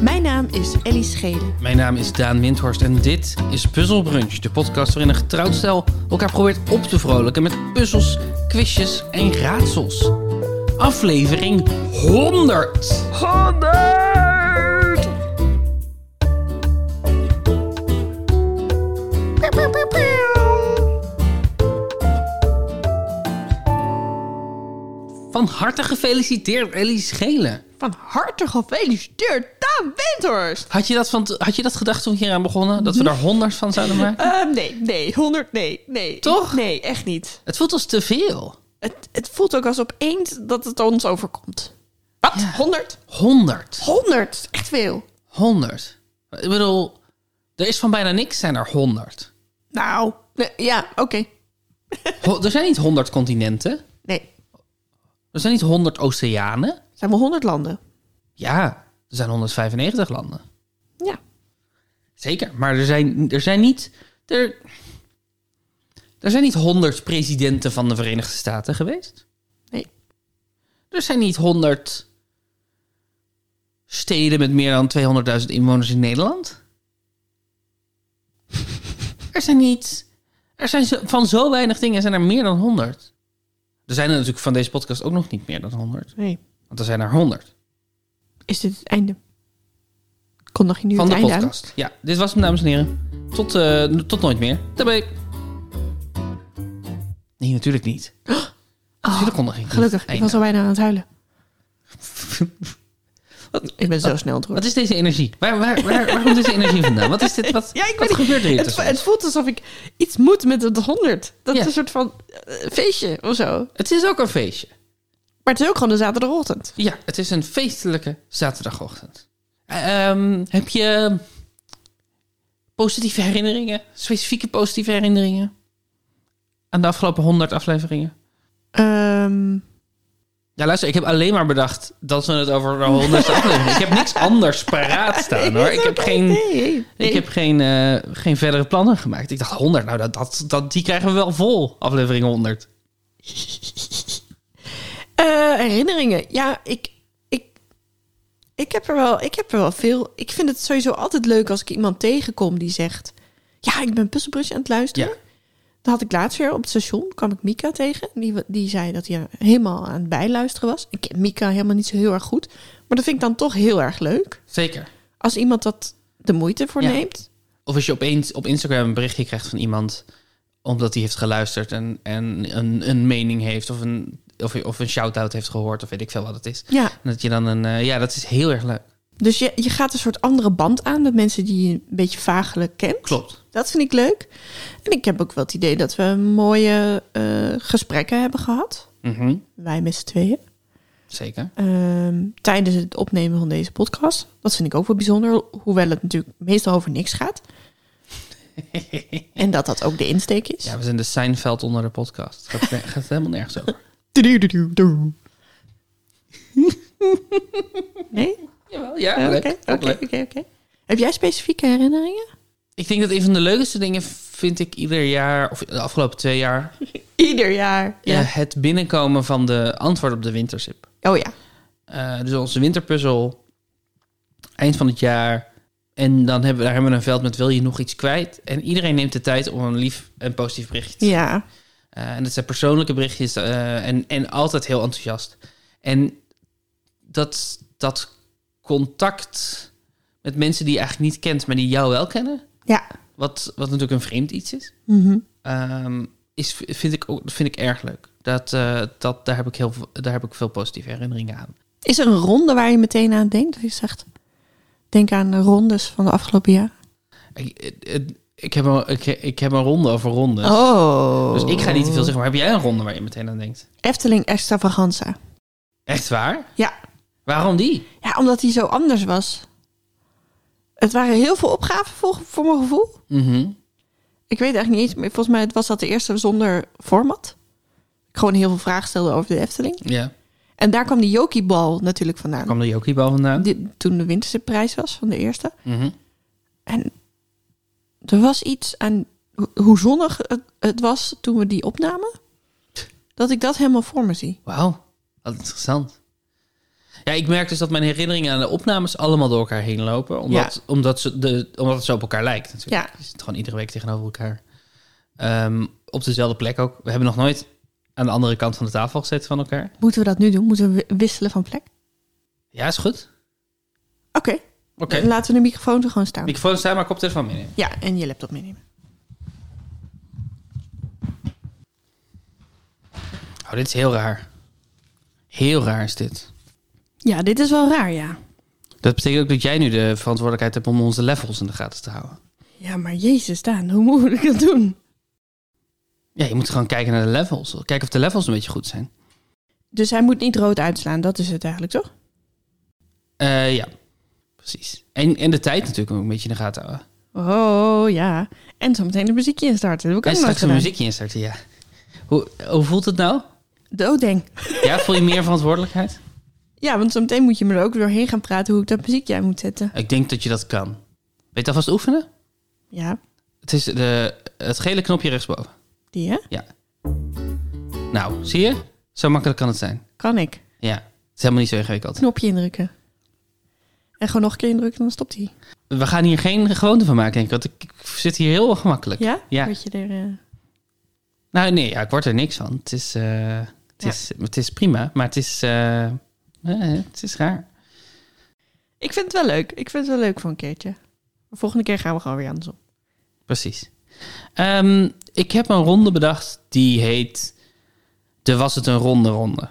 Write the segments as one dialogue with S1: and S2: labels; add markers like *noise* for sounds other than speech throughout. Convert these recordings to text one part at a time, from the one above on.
S1: Mijn naam is Ellie Schelen.
S2: Mijn naam is Daan Windhorst en dit is Puzzle Brunch, de podcast waarin een getrouwd stel elkaar probeert op te vrolijken met puzzels, quizjes en raadsels. Aflevering 100! 100! Van harte gefeliciteerd, Ellie Schelen.
S1: Van harte gefeliciteerd, Daan Windhorst!
S2: Had je dat, van t- had je dat gedacht toen we hier aan begonnen? Dat we daar 100 van zouden maken?
S1: Ehm, nee, nee, 100 nee, nee.
S2: Toch?
S1: Nee, echt niet.
S2: Het voelt als te veel.
S1: Het, het voelt ook als opeens dat het ons overkomt. Wat? 100?
S2: 100.
S1: 100! is Echt veel.
S2: 100. Ik bedoel, er is van bijna niks zijn er 100.
S1: Nou, nee, ja, oké.
S2: Ho- er zijn niet 100 continenten.
S1: Nee,
S2: Er zijn niet 100 oceanen.
S1: zijn wel 100 landen.
S2: Ja, er zijn 195 landen.
S1: Ja.
S2: Zeker, maar er zijn, er zijn niet. Er, er zijn niet 100 presidenten van de Verenigde Staten geweest.
S1: Nee.
S2: Er zijn niet 100 steden met meer dan 200.000 inwoners in Nederland. er zijn niet. Er zijn zo- van zo weinig dingen zijn er meer dan 100. Er zijn er natuurlijk van deze podcast ook nog niet meer dan 100.
S1: Nee.
S2: Want er zijn er 100
S1: Is dit het einde? Kondig je nu
S2: van
S1: het
S2: de
S1: einde aan?
S2: podcast. Ja, dit was hem, dames en heren. Tot, eh, tot nooit meer. Daarbij. Nee, natuurlijk
S1: *gasps*
S2: niet. Natuurlijk kon er geen
S1: Oh, Gelukkig, ik
S2: einde.
S1: was al bijna aan het *laughs* huilen. Ik ben zo snel terug.
S2: Wat is deze energie? Waar, waar, waar, waar komt deze energie vandaan? Wat is dit? Wat,
S1: *laughs* Ja, ik weet
S2: wat
S1: niet.
S2: gebeurt er hier
S1: Het, vo-
S2: tussen?
S1: het
S2: ons?
S1: voelt alsof ik iets moet met het 100. Dat
S2: Ja.
S1: is een soort van eh, feestje of zo.
S2: Het is ook een feestje.
S1: Maar het is ook gewoon een zaterdagochtend.
S2: Ja, het is een feestelijke zaterdagochtend. Ehm, heb je positieve herinneringen? Specifieke positieve herinneringen? Aan de afgelopen 100 afleveringen?
S1: Ehm,
S2: Ja, luister, ik heb alleen maar bedacht dat we het over de *laughs* honderdste aflevering. Ik heb niks anders paraat staan hoor. Ik heb geen,
S1: nee, nee, nee.
S2: ik heb geen, eh, geen verdere plannen gemaakt. Ik dacht 100, nou dat, dat, dat, die krijgen we wel vol, aflevering 100.
S1: Eh, herinneringen. Ja, ik, ik, ik, heb er wel, ik heb er wel veel. Ik vind het sowieso altijd leuk als ik iemand tegenkom die zegt... Ja, ik ben Puzzelbrusje aan het luisteren.
S2: Ja.
S1: Dat had ik laatst weer op het station. kwam ik Mika tegen. Die, wa- die zei dat hij helemaal aan het bijluisteren was. Ik ken Mika helemaal niet zo heel erg goed. Maar dat vind ik dan toch heel erg leuk.
S2: Zeker.
S1: Als iemand dat de moeite voor
S2: Ja.
S1: neemt.
S2: Of als je opeens op Instagram een berichtje krijgt van iemand omdat hij heeft geluisterd en, en een, een mening heeft of een, of, of een shout-out heeft gehoord of weet ik veel wat het is.
S1: Ja,
S2: En Dat je dan een, eh, ja, dat is heel erg leuk.
S1: Dus je, je gaat een soort andere band aan met mensen die je een beetje vagelijk kent.
S2: Klopt.
S1: Dat vind ik leuk. En ik heb ook wel het idee dat we mooie eh, gesprekken hebben gehad.
S2: Mhm,
S1: Wij met z'n tweeën.
S2: Zeker.
S1: Ehm, tijdens het opnemen van deze podcast. Dat vind ik ook wel bijzonder. Hoewel het natuurlijk meestal over niks gaat. en dat dat ook de insteek is.
S2: Ja, we zijn de Seinfeld onder de podcast. Gaat, *laughs* gaat helemaal nergens over.
S1: Tudu-tudu-tudu. Nee?
S2: Jawel, ja,
S1: Oh,
S2: leuk.
S1: Oké,
S2: Ook
S1: oké,
S2: leuk.
S1: oké, oké. Heb jij specifieke herinneringen?
S2: Ik denk dat een van de leukste dingen vind ik ieder jaar, of de afgelopen twee jaar,
S1: Ieder jaar.
S2: eh, het binnenkomen van de antwoord op de wintersip.
S1: Oh ja.
S2: Eh, dus onze winterpuzzel, eind van het jaar. En dan hebben, we- daar hebben we een veld met wil je nog iets kwijt? En iedereen neemt de tijd om een lief en positief berichtje te
S1: Ja.
S2: Eh, en dat zijn persoonlijke berichtjes eh, en, en altijd heel enthousiast. En dat, dat contact met mensen die je eigenlijk niet kent, maar die jou wel kennen,
S1: Ja.
S2: wat, wat natuurlijk een vreemd iets is,
S1: Mhm.
S2: ehm, is vind, ik ook, vind ik erg leuk. Dat, eh, dat, daar, heb ik heel, veel- daar heb ik veel positieve herinneringen aan.
S1: Is er een ronde waar je meteen aan denkt? Dat je zegt, denk aan de rondes van de afgelopen jaar.
S2: Ik, het- het- ik, heb, een, ik, ik heb een ronde over ronde.
S1: Oh.
S2: Dus ik ga niet te veel zeggen, maar heb jij een ronde waar je meteen aan denkt?
S1: Efteling extravaganza.
S2: Echt waar?
S1: Ja.
S2: Waarom die?
S1: Ja, omdat die zo anders was. Het waren heel veel opgaven voor, voor mijn gevoel.
S2: Mhm.
S1: Ik weet eigenlijk niet eens, maar volgens mij was dat de eerste zonder format. Ik gewoon heel veel vragen stelde over de Efteling.
S2: Ja,
S1: En daar kwam die Jokiebal natuurlijk vandaan.
S2: kwam de Jokiebal vandaan.
S1: Die, toen de winterse prijs was van de eerste.
S2: Mhm.
S1: En er was iets aan ho- hoe zonnig het, het was toen we die opnamen. Dat ik dat helemaal voor me zie.
S2: Wauw, wat interessant. Ja, Ja, ik merk dus dat mijn herinneringen aan de opnames allemaal door elkaar heen lopen. Omdat,
S1: Ja.
S2: omdat, ze de, omdat het zo op elkaar lijkt natuurlijk.
S1: Ja.
S2: Je zit gewoon iedere week tegenover elkaar. Ehm, op dezelfde plek ook. We hebben nog nooit aan de andere kant van de tafel gezeten van elkaar.
S1: Moeten we dat nu doen? Moeten we wi- wisselen van plek?
S2: Ja, is goed.
S1: Oké,
S2: Oké.
S1: dan laten we de microfoon er gewoon staan.
S2: Microfoon staan, maar koptelefoon meenemen.
S1: ja, en je laptop meenemen.
S2: Oh, dit is heel raar. Heel raar is dit.
S1: Ja, dit is wel raar, ja.
S2: Dat betekent ook dat jij nu de verantwoordelijkheid hebt om onze levels in de gaten te houden.
S1: Ja, maar jezus, Daan, hoe moet ik dat doen?
S2: Ja, je moet gewoon kijken naar de levels. Kijken of de levels een beetje goed zijn.
S1: Dus hij moet niet rood uitslaan, dat is het eigenlijk, toch?
S2: Eh, ja, precies. En, en de tijd natuurlijk ook een beetje in de gaten houden.
S1: Oh, ja. En zometeen een muziekje instarten. Dat heb ik
S2: En
S1: ook nooit
S2: straks een
S1: gedaan.
S2: muziekje instarten, ja. Hoe, hoe voelt het nou?
S1: Doodeng.
S2: Ja, voel je meer verantwoordelijkheid?
S1: Ja, want zometeen moet je me er ook doorheen gaan praten hoe ik dat muziekje aan moet zetten.
S2: Ik denk dat je dat kan. Weet je het alvast oefenen?
S1: Ja,
S2: Het is de, het gele knopje rechtsboven.
S1: die hè?
S2: Ja. Nou, zie je? Zo makkelijk kan het zijn.
S1: Kan ik.
S2: Ja, het is helemaal niet zo ingewikkeld.
S1: Knopje indrukken. En gewoon nog een keer indrukken, dan stopt hij.
S2: We gaan hier geen gewoonte van maken, denk ik. Want ik, ik zit hier heel gemakkelijk.
S1: Ja?
S2: Ja.
S1: Word je er... eh,
S2: Nou, nee, ja, ik word er niks van. Het is, eh, het
S1: Ja.
S2: is, het is prima, maar het is, eh, eh, het is raar.
S1: Ik vind het wel leuk. Ik vind het wel leuk voor een keertje. De volgende keer gaan we gewoon weer andersom.
S2: Precies. Ehm, ik heb een ronde bedacht die heet... De was het een ronde ronde.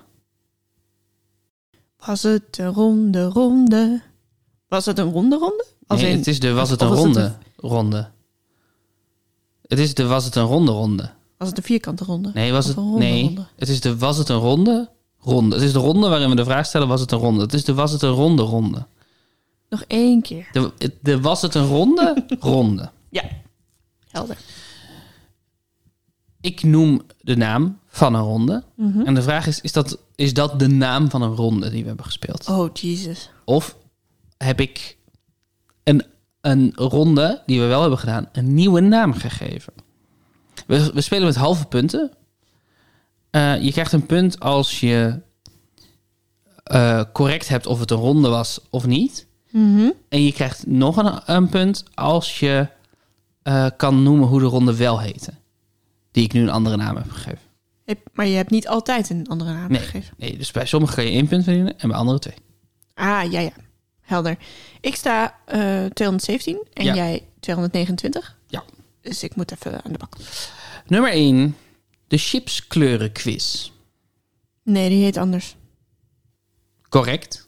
S1: Was het een ronde ronde? Was het een ronde ronde? Als
S2: Nee,
S1: in-
S2: het is de was het een
S1: of was het
S2: ronde ronde. Het is de was het een ronde ronde.
S1: Was het een vierkante ronde?
S2: Nee, was
S1: Of
S2: het,
S1: een ronde
S2: nee.
S1: ronde?
S2: het is de was het een ronde ronde. Het is de ronde waarin we de vraag stellen was het een ronde. Het is de was het een ronde ronde.
S1: Nog één keer.
S2: De, de was het een ronde
S1: *laughs*
S2: ronde.
S1: Ja. Helder.
S2: ik noem de naam van een ronde.
S1: Mhm.
S2: En de vraag is, is dat, is dat de naam van een ronde die we hebben gespeeld?
S1: Oh, Jesus.
S2: Of heb ik een, een ronde die we wel hebben gedaan, een nieuwe naam gegeven? We, we spelen met halve punten. Eh, je krijgt een punt als je eh, correct hebt of het een ronde was of niet. En je krijgt nog een, een punt als je eh, kan noemen hoe de ronde wel heette. Die ik nu een andere naam heb gegeven.
S1: Heb- Maar je hebt niet altijd een andere naam
S2: Nee.
S1: gegeven.
S2: Nee, dus bij sommigen kan je één punt verdienen en bij anderen twee.
S1: Ah, ja, ja. Helder. Ik sta eh 217 en
S2: Ja.
S1: jij 229.
S2: Ja.
S1: Dus ik moet even aan de bak.
S2: Nummer 1. De chipskleurenquiz.
S1: Nee, die heet anders.
S2: Correct.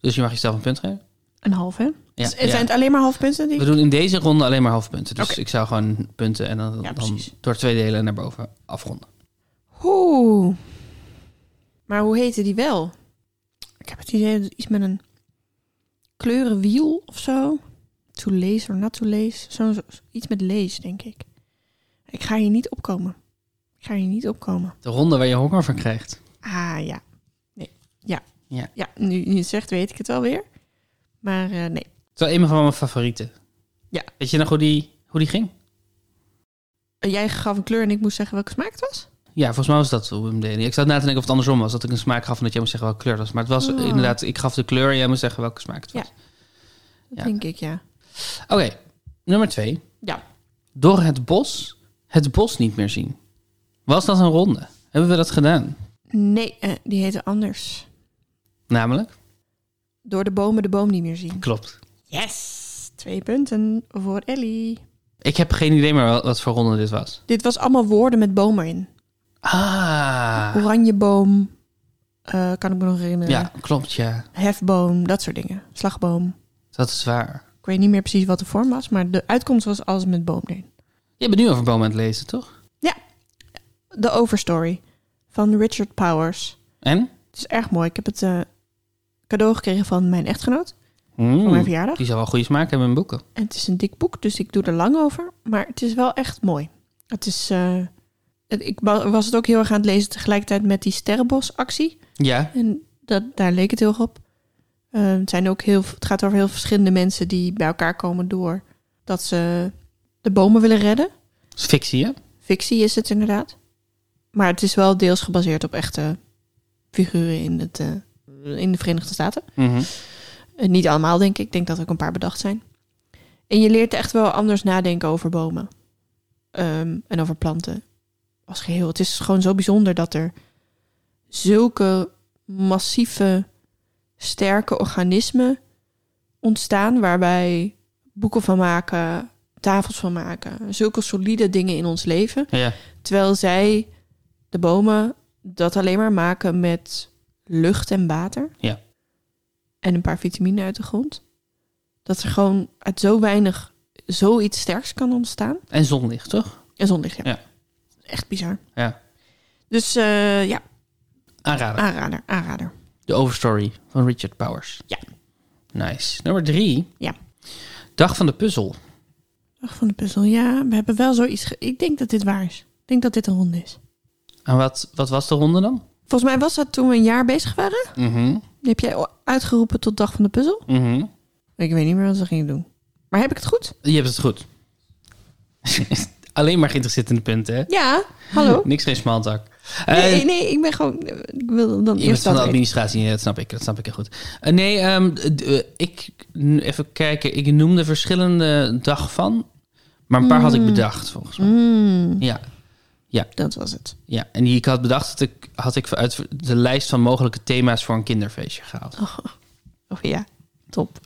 S2: Dus je mag jezelf een punt geven.
S1: Een half, hè?
S2: Ja,
S1: Dus zijn
S2: ja.
S1: het alleen maar halfpunten? Die...
S2: We doen in deze ronde alleen maar halfpunten. Dus
S1: Oké.
S2: ik zou gewoon punten en dan,
S1: Ja,
S2: dan
S1: precies.
S2: door twee delen naar boven afronden.
S1: Oeh. Maar hoe heette die wel? Ik heb het idee dat iets met een kleurenwiel of zo. To lace or not to lace. Zo, zo- iets met lace, denk ik. Ik ga hier niet opkomen. Ik ga hier niet opkomen.
S2: De ronde waar je honger van krijgt.
S1: Ah, ja. Nee. Ja.
S2: Ja.
S1: ja nu, nu je het zegt, weet ik het wel weer. Maar eh, nee.
S2: Het is wel een van mijn favorieten.
S1: Ja.
S2: Weet je nog hoe die, hoe die ging?
S1: Eh, Jij gaf een kleur en ik moest zeggen welke smaak het was?
S2: Ja, volgens mij was dat hoe we hem deden. Ik zat na te denken of het andersom was. Dat ik een smaak gaf en dat jij moest zeggen welke kleur het was. Maar het was
S1: Oh.
S2: inderdaad, ik gaf de kleur en jij moest zeggen welke smaak het was.
S1: Dat
S2: Ja.
S1: denk ik, ja.
S2: Oké, nummer twee.
S1: Ja.
S2: Door het bos het bos niet meer zien. Was dat een ronde? Hebben we dat gedaan?
S1: Nee, eh, die heette anders.
S2: Namelijk?
S1: Door de bomen de boom niet meer zien.
S2: Klopt.
S1: Yes! Twee punten voor Ellie.
S2: Ik heb geen idee meer wel- wat voor ronde dit was.
S1: Dit was allemaal woorden met bomen in.
S2: Ah.
S1: Oranjeboom, eh, kan ik me nog herinneren.
S2: Ja, klopt, ja.
S1: Hefboom, dat soort dingen. Slagboom.
S2: Dat is waar.
S1: Ik weet niet meer precies wat de vorm was, maar de uitkomst was alles met boom erin.
S2: Je bent nu over bomen aan het lezen, toch?
S1: The Overstory van Richard Powers.
S2: En?
S1: Het is erg mooi. Ik heb het eh, cadeau gekregen van mijn echtgenoot
S2: Mm,
S1: voor mijn verjaardag.
S2: die zal wel goede smaak hebben in boeken.
S1: En het is een dik boek, dus ik doe er lang over. Maar het is wel echt mooi. Het is... eh, het- ik wa- was het ook heel erg aan het lezen tegelijkertijd met die sterrenbosactie.
S2: Ja.
S1: En dat, daar leek het heel erg op. Eh, het, zijn ook heel, het gaat over heel verschillende mensen die bij elkaar komen door dat ze de bomen willen redden.
S2: Dat is fictie, hè?
S1: Fictie is het inderdaad. Maar het is wel deels gebaseerd op echte figuren in het eh, in de Verenigde Staten.
S2: Mhm.
S1: Eh, niet allemaal, denk ik. Ik denk dat er ook een paar bedacht zijn. En je leert echt wel anders nadenken over bomen. Ehm, en over planten als geheel. Het is gewoon zo bijzonder dat er zulke massieve, sterke organismen ontstaan... waarbij boeken van maken, tafels van maken... zulke solide dingen in ons leven...
S2: Ja.
S1: Terwijl zij, de bomen, dat alleen maar maken met lucht en water.
S2: Ja.
S1: En een paar vitamine uit de grond. Dat er gewoon uit zo weinig zoiets sterks kan ontstaan.
S2: En zonlicht, toch?
S1: En zonlicht, ja.
S2: Ja.
S1: Echt bizar.
S2: Ja.
S1: Dus eh, ja,
S2: Aanraden.
S1: aanrader, aanrader.
S2: De Overstory van Richard Powers.
S1: Ja.
S2: Nice. Nummer drie.
S1: Ja.
S2: Dag van de puzzel.
S1: Dag van de puzzel, ja, we hebben wel zoiets... ge- Ik denk dat dit waar is. Ik denk dat dit een ronde is.
S2: En wat, wat was de ronde dan?
S1: Volgens mij was dat toen we een jaar bezig waren.
S2: Mhm.
S1: Heb jij uitgeroepen tot dag van de puzzel?
S2: Mhm.
S1: Ik weet niet meer wat ze gingen doen. Maar heb ik het goed?
S2: Je hebt het goed. *laughs* Alleen maar geïnteresseerd in de punten, hè?
S1: Ja, hallo.
S2: Niks geen smalltalk. Eh,
S1: Oh. Nee, nee, ik ben gewoon. Ik wil dan
S2: je bent
S1: eerst dat
S2: van de
S1: weten.
S2: administratie, ja, dat snap ik. Dat snap ik heel goed. Eh, nee, ehm, d- eh, ik... n- Even kijken. Ik noemde verschillende dag van. Maar een paar had ik bedacht, volgens mij.
S1: Mm,
S2: Ja.
S1: dat was het.
S2: Ja, en die ik had bedacht, dat ik, had ik uit de lijst van mogelijke thema's voor een kinderfeestje gehaald.
S1: *laughs* Oh ja, top.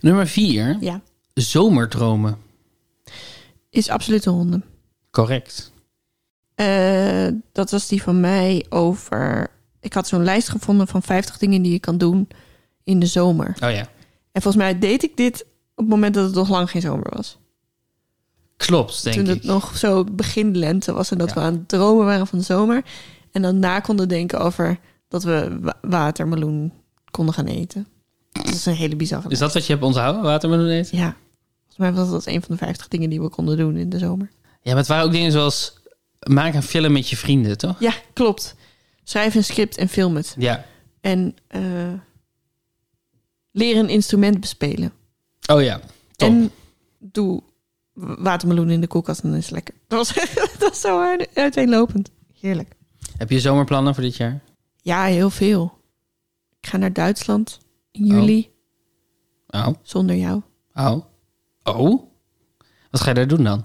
S2: Nummer 4,
S1: Ja,
S2: zomerdromen.
S1: is absoluut een ronde.
S2: Correct.
S1: Eh, dat was die van mij over. Ik had zo'n lijst gevonden van 50 dingen die je kan doen in de zomer.
S2: Oh ja,
S1: En volgens mij deed ik dit op het moment dat het nog lang geen zomer was.
S2: klopt, denk
S1: Toen
S2: ik.
S1: het nog zo begin lente was en dat
S2: Ja.
S1: we aan het dromen waren van de zomer. En dan na konden denken over dat we wa- watermeloen konden gaan eten. Dat is een hele bizarre
S2: Is dat wat je hebt onthouden, watermeloen eten?
S1: Ja, volgens mij was dat een van de 50 dingen die we konden doen in de zomer.
S2: Ja, maar het waren ook dingen zoals maak een film met je vrienden, toch?
S1: Ja, klopt. Schrijf een script en film het.
S2: Ja.
S1: En eh leer een instrument bespelen.
S2: Oh ja, top.
S1: En doe w- watermeloen in de koelkast en dan is het lekker. Dat was, *laughs* dat was zo hard uiteenlopend. Heerlijk.
S2: Heb je zomerplannen voor dit jaar?
S1: Ja, heel veel. Ik ga naar Duitsland in juli
S2: Oh,
S1: zonder jou.
S2: oh, oh. Wat ga je daar doen dan?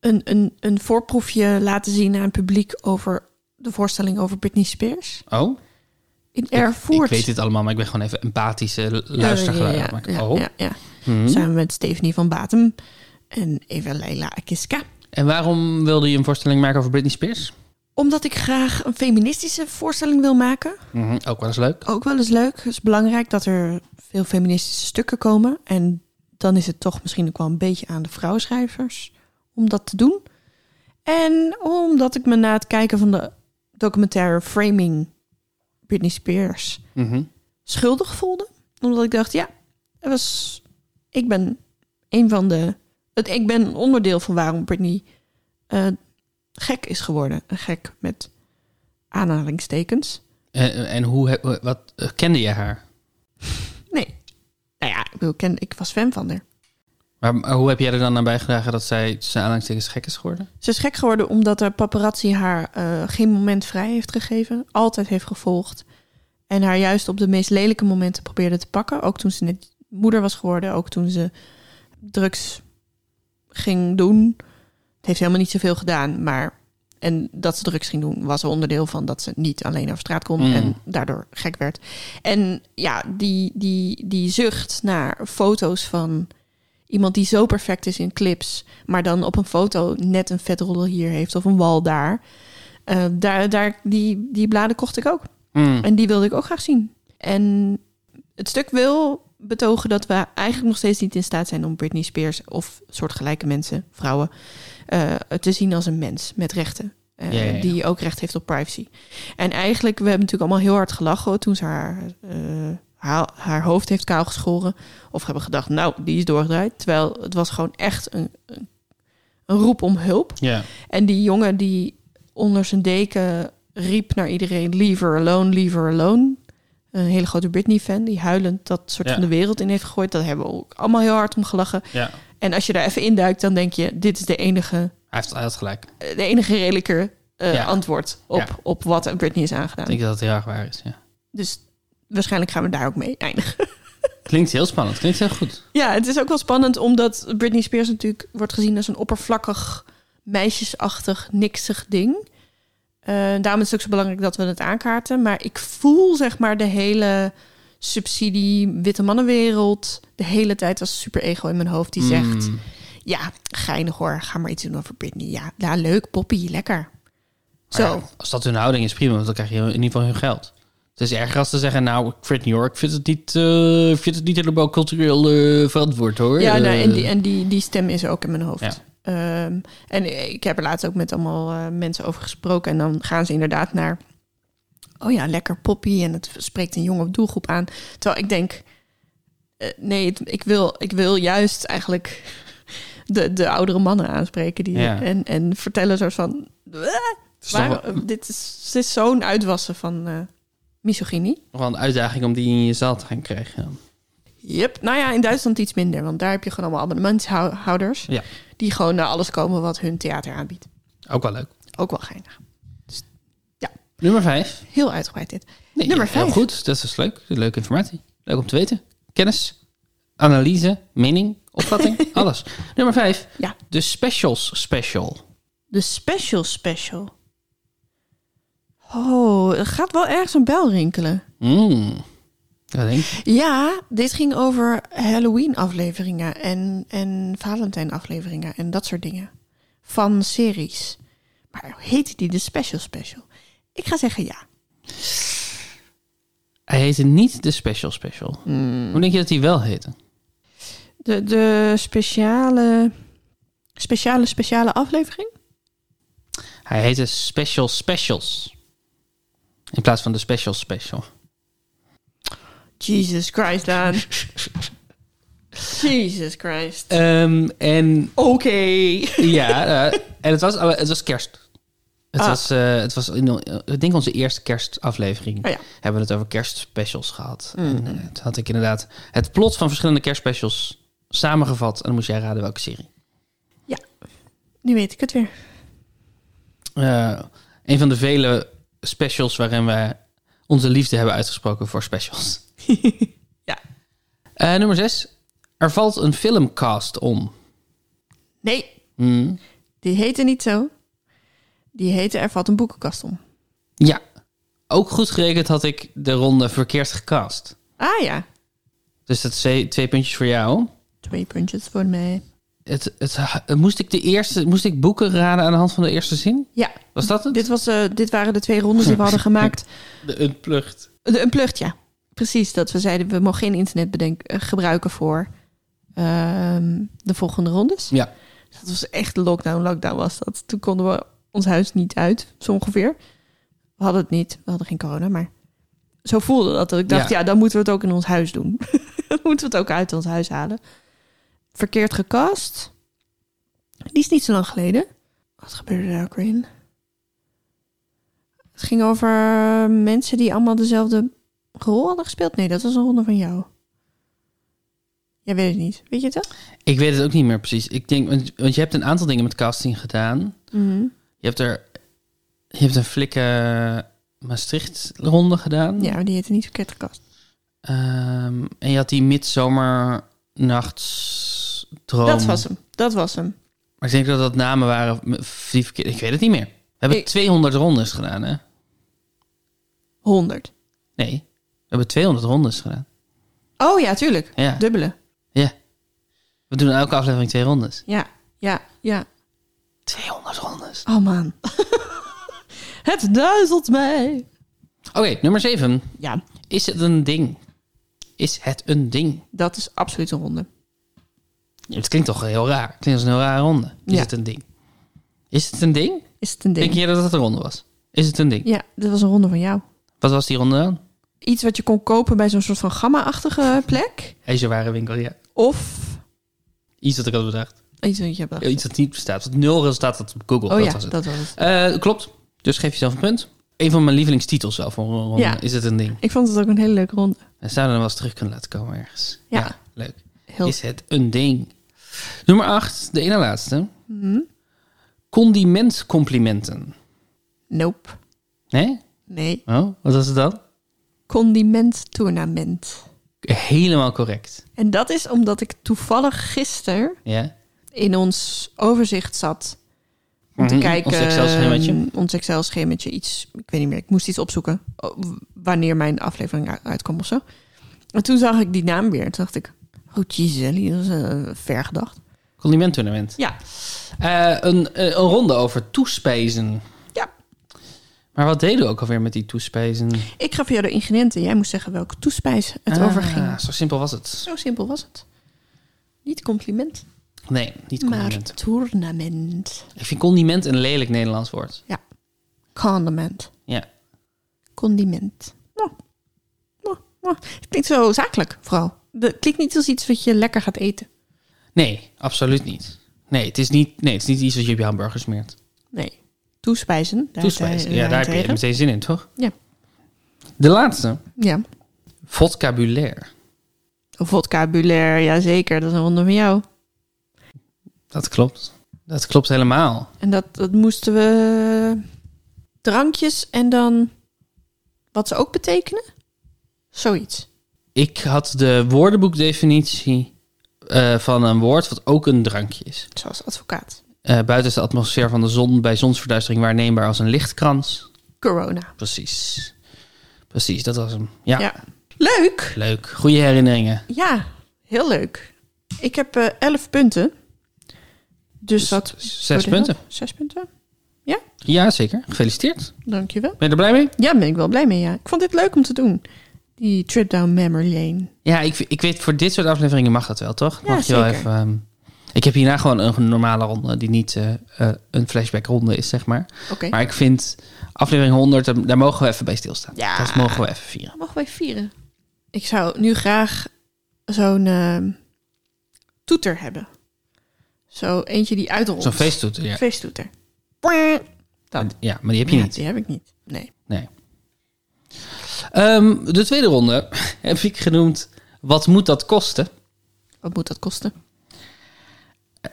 S1: Een, een, een voorproefje laten zien aan het publiek over de voorstelling over Britney Spears.
S2: Oh,
S1: In
S2: ik
S1: Erfurt.
S2: weet dit allemaal, maar ik ben gewoon even empathische lu- luisteraar. aan
S1: Ja,
S2: het maken.
S1: ja,
S2: oh.
S1: ja, ja.
S2: Mhm.
S1: Samen met Stephanie van Batem en Eva Leila Akiska.
S2: En waarom wilde je een voorstelling maken over Britney Spears?
S1: Omdat ik graag een feministische voorstelling wil maken.
S2: Mhm, Ook wel eens leuk.
S1: Ook wel eens leuk. Het is belangrijk dat er veel feministische stukken komen. En dan is het toch misschien ook wel een beetje aan de vrouwenschrijvers om dat te doen. En omdat ik me na het kijken van de documentaire Framing Britney Spears
S2: Mhm.
S1: schuldig voelde. Omdat ik dacht, ja, het was, ik ben een van de. Het, ik ben een onderdeel van waarom Britney eh, gek is geworden. Een Gek met aanhalingstekens.
S2: En, en hoe, he- wat, eh, kende je haar?
S1: Nee. Nou ja, ik, bedoel, ik ken, ik was fan van haar.
S2: Maar, maar eh, hoe heb jij er dan aan bijgedragen dat zij tussen aanhalingstekens gek is geworden?
S1: Ze is gek geworden omdat de paparazzi haar eh, geen moment vrij heeft gegeven. Altijd heeft gevolgd. En haar juist op de meest lelijke momenten probeerde te pakken. Ook toen ze net moeder was geworden. Ook toen ze drugs ging doen. Het heeft helemaal niet zoveel gedaan. Maar en dat ze drugs ging doen was er onderdeel van dat ze niet alleen over straat kon.
S2: Mm.
S1: En daardoor gek werd. En ja, die, die, die zucht naar foto's van iemand die zo perfect is in clips, maar dan op een foto net een vetroller hier heeft of een wal daar. Eh, daar, daar die, die bladen kocht ik ook.
S2: Mm.
S1: En die wilde ik ook graag zien. En het stuk wil betogen dat we eigenlijk nog steeds niet in staat zijn om Britney Spears of soortgelijke mensen, vrouwen, eh, te zien als een mens met rechten. eh,
S2: Ja, ja, ja.
S1: Die ook recht heeft op privacy. En eigenlijk, we hebben natuurlijk allemaal heel hard gelachen toen ze haar, eh, haar, haar hoofd heeft kaal geschoren. Of hebben gedacht, nou, die is doorgedraaid. Terwijl het was gewoon echt een, een, een roep om hulp.
S2: Ja.
S1: En die jongen die onder zijn deken riep naar iedereen: Leave her alone, leave her alone. Een hele grote Britney-fan die huilend dat soort
S2: Ja.
S1: van de wereld in heeft gegooid. Daar hebben we ook allemaal heel hard om gelachen.
S2: ja. Hij,
S1: En als je daar even induikt, dan denk je: dit is de enige,
S2: heeft, hij had gelijk. Ik
S1: de enige redelijke eh,
S2: Ja.
S1: antwoord op,
S2: Ja.
S1: op wat aan Britney is aangedaan.
S2: denk dat het heel erg waar is. Ja.
S1: Dus waarschijnlijk gaan we daar ook mee eindigen.
S2: Klinkt heel spannend, klinkt heel goed.
S1: Ja, het is ook wel spannend omdat Britney Spears natuurlijk wordt gezien als een oppervlakkig, meisjesachtig, niksig ding. Eh, daarom is het ook zo belangrijk dat we het aankaarten. Maar ik voel zeg maar de hele subsidie, witte mannenwereld, de hele tijd als superego in mijn hoofd die zegt...
S2: Mm.
S1: Ja, geinig hoor, ga maar iets doen over Britney. Ja, ja leuk, Poppy, lekker.
S2: Maar
S1: Zo,
S2: Ah ja, als dat hun houding is, prima, want dan krijg je in ieder geval hun geld. Het is erger als te zeggen, nou, ik vind New York, ik vind het niet, eh, ik vind het niet helemaal cultureel eh, verantwoord hoor.
S1: Ja, nou,
S2: Eh,
S1: en, die, en die, die stem is ook in mijn hoofd.
S2: Ja.
S1: Ehm, en ik heb er laatst ook met allemaal eh, mensen over gesproken. En dan gaan ze inderdaad naar... Oh ja, lekker poppy. En het spreekt een jonge doelgroep aan. Terwijl ik denk... eh, nee, het- ik, wil, ik wil juist eigenlijk *laughs* de, de oudere mannen aanspreken. Die,
S2: Ja.
S1: en, en vertellen zo van... "Eh,
S2: het is
S1: waarom-
S2: toch wel,
S1: dit is, dit is zo'n uitwassen van eh, misogynie.
S2: nog wel een uitdaging om die in je zaal te gaan krijgen. dan.
S1: Yep. Nou ja, in Duitsland iets minder, want daar heb je gewoon allemaal abonnementhouders.
S2: Ja.
S1: Die gewoon naar alles komen wat hun theater aanbiedt.
S2: Ook wel leuk.
S1: Ook wel geinig.
S2: Nummer vijf.
S1: Heel uitgebreid dit.
S2: Nee,
S1: Nummer
S2: heel
S1: vijf.
S2: goed, dat is leuk. Leuke informatie. Leuk om te weten. Kennis, analyse, mening,
S1: *laughs*
S2: opvatting, alles. Nummer vijf.
S1: Ja.
S2: De specials special.
S1: De special special. Oh, er gaat wel ergens een bel rinkelen.
S2: Mm. Dat denk ik.
S1: Ja, dit ging over Halloween afleveringen en, en Valentijn afleveringen en dat soort dingen. Van series. Maar heette die de special special? Ik ga zeggen ja.
S2: Hij heette niet de special special.
S1: Hmm.
S2: Hoe denk je dat hij wel heette?
S1: De, de speciale, speciale, speciale aflevering?
S2: Hij heette Special Specials. In plaats van de Special Special.
S1: Jesus Christ, *laughs* Daan. Jesus Christ.
S2: Ehm, en
S1: Oké.
S2: ja, *laughs* eh, en het was, alle- het was kerst. Het
S1: Ah.
S2: was, eh, het was in, ik denk onze eerste kerstaflevering.
S1: Oh ja.
S2: Hebben we het over kerstspecials gehad. En, eh, toen had ik inderdaad het plot van verschillende kerstspecials samengevat. En dan moest jij raden welke serie.
S1: Nu weet ik het weer.
S2: Eh, een van de vele specials waarin we onze liefde hebben uitgesproken voor specials.
S1: Ja.
S2: Eh, nummer 6. Er valt een filmcast om.
S1: Nee,
S2: Hmm.
S1: die heette niet zo. Die heette Er valt een boekenkast om.
S2: Ja. Ook goed gerekend had ik de ronde verkeerd gecast.
S1: Ah ja.
S2: Dus dat is twee twee puntjes voor jou.
S1: Twee puntjes voor mij.
S2: Het, het, moest, ik de eerste, moest ik boeken raden aan de hand van de eerste zin?
S1: Ja,
S2: Was dat het?
S1: dit, was, eh, dit waren de twee rondes die we hadden *laughs* gemaakt.
S2: De unplucht.
S1: De, een plucht, ja. Precies, dat we zeiden we mogen geen internet bedenk, eh, gebruiken voor ehm, de volgende rondes.
S2: Ja.
S1: Dat was echt lockdown, lockdown was dat. Toen konden we ons huis niet uit, zo ongeveer. We hadden het niet, we hadden geen corona, maar zo voelde dat. dat ik dacht,
S2: Ja.
S1: ja. dan moeten we het ook in ons huis doen. *laughs* dan moeten we het ook uit ons huis halen. Verkeerd gekast. Die is niet zo lang geleden. Wat gebeurde daar ook weer in? Het ging over eh, mensen die allemaal dezelfde rol hadden gespeeld. Nee, dat was een ronde van jou. Jij weet het niet. Weet je het wel?
S2: Ik weet het ook niet meer precies. Ik denk, want, want je hebt een aantal dingen met casting gedaan.
S1: Mhm.
S2: Je hebt er... Je hebt een flikke Maastricht-ronde gedaan.
S1: Ja, maar die heette niet verkeerd gekast.
S2: Ehm, en je had die midzomernachtsdroom.
S1: Dat was hem. Dat was hem.
S2: Maar ik denk dat dat namen waren m- die verkeerd... Ik weet het niet meer. We hebben
S1: Ik-
S2: 200 rondes gedaan, hè?
S1: 100.
S2: Nee. We hebben 200 rondes gedaan.
S1: Oh ja, tuurlijk.
S2: Ja.
S1: Dubbele.
S2: ja. We doen elke aflevering twee rondes.
S1: Ja, ja, ja.
S2: 200 rondes.
S1: Oh man. *laughs* het duizelt mij.
S2: Oké, nummer 7.
S1: Ja,
S2: Is het een ding? Is het een ding?
S1: dat is absoluut een ronde.
S2: Het klinkt toch heel raar. Het klinkt als een heel rare ronde. Is
S1: Ja.
S2: het een ding? Is het een ding?
S1: Is het een ding?
S2: Denk je dat het een ronde was? Is het een ding?
S1: Ja, dat was een ronde van jou.
S2: Wat was die ronde dan?
S1: Iets wat je kon kopen bij zo'n soort van gamma-achtige plek.
S2: IJzerwarenwinkel, ja.
S1: Of
S2: Iets dat ik had bedacht. Eh,
S1: iets wat je hebt.
S2: Iets dat niet bestaat. Het nul resultaat dat op Google.
S1: Oh
S2: dat
S1: ja,
S2: was het.
S1: dat was het.
S2: Eh, klopt. Dus geef jezelf een punt. Een van mijn lievelingstitels wel voor een ronde.
S1: Ja.
S2: Is het een ding?
S1: Ik vond het ook een hele leuke ronde.
S2: En zouden we wel eens terug kunnen laten komen ergens.
S1: Ja.
S2: leuk.
S1: Heel...
S2: Is het een ding? Nummer 8, de ene laatste.
S1: Mhm.
S2: Condimentcomplimenten.
S1: Nope.
S2: Nee?
S1: Nee.
S2: Oh, wat was het dan?
S1: condimenttournament.
S2: Helemaal correct.
S1: En dat is omdat ik toevallig gisteren
S2: Ja?
S1: in ons overzicht zat om te
S2: Mhm,
S1: kijken.
S2: Ons Excel-schemaatje.
S1: ehm, Ons Excel-schemaatje, iets. Ik weet niet meer. Ik moest iets opzoeken. o- w- Wanneer mijn aflevering u- uitkwam of zo. En toen zag ik die naam weer. Toen dacht ik. Oh, jezus, dat is eh, ver gedacht.
S2: Condimenttournament.
S1: Ja.
S2: Eh, een, eh, een ronde over toespijzen.
S1: Ja.
S2: Maar wat deden we ook alweer met die toespijzen?
S1: Ik gaf jou de ingrediënten. Jij moest zeggen welke toespijs het
S2: Ah,
S1: over ging.
S2: Zo simpel was het.
S1: Zo simpel was het. Niet compliment,
S2: Nee, niet
S1: maar
S2: condiment.
S1: tournament.
S2: Ik vind condiment een lelijk Nederlands woord.
S1: Condiment.
S2: Ja.
S1: Condiment. Mwah. Mwah. Mwah. Het klinkt zo zakelijk, vooral. De- Het klinkt niet als iets wat je lekker gaat eten.
S2: Nee, absoluut niet. Nee, het is niet, nee, het is niet iets wat je op je hamburger smeert.
S1: Nee. Toespijzen. daar- eh,
S2: Toespijzen. Ja, daar heb je
S1: daarentegen.
S2: meteen zin in, toch?
S1: Ja.
S2: De laatste.
S1: Ja.
S2: Vocabulaire.
S1: Vocabulaire, jazeker. Dat is een ronde van jou.
S2: Dat klopt. Dat klopt helemaal.
S1: En dat, dat moesten we... Drankjes en dan... Wat ze ook betekenen? Zoiets.
S2: Ik had de woordenboekdefinitie eh, van een woord wat ook een drankje is.
S1: Zoals advocaat.
S2: Eh, buiten is de atmosfeer van de zon bij zonsverduistering waarneembaar als een lichtkrans.
S1: Corona.
S2: Precies. Precies, dat was hem. Ja,
S1: Ja. Leuk!
S2: leuk. Goede herinneringen.
S1: Ja, heel leuk. Ik heb eh elf punten. Dus dat...
S2: z- zes punten.
S1: Zes punten.
S2: Ja, zeker. Gefeliciteerd.
S1: Dankjewel.
S2: Ben je er blij mee?
S1: Ja, ben ik wel blij mee, ja. Ik vond dit leuk om te doen. Die trip down memory lane.
S2: Ja, ik, ik weet, voor dit soort afleveringen mag dat wel, toch?
S1: Ja,
S2: Mag je wel
S1: zeker.
S2: even. ehm, ik heb hierna gewoon een normale ronde die niet eh, eh, een flashback ronde is, zeg maar.
S1: Oké.
S2: Maar ik vind aflevering 100, daar- daar mogen we even bij stilstaan.
S1: Ja.
S2: Dat mogen we even vieren.
S1: Oh, Mogen wij vieren? Ik zou nu graag zo'n ehm, toeter hebben. Zo eentje die uitrolt.
S2: Zo'n feesttoeter, ja.
S1: Feesttoeter. Dan.
S2: Ja, maar die heb je
S1: Ja,
S2: niet.
S1: Die heb ik niet. Nee.
S2: Nee. Ehm, de tweede ronde *laughs* heb ik genoemd, wat moet dat kosten?
S1: Wat moet dat kosten?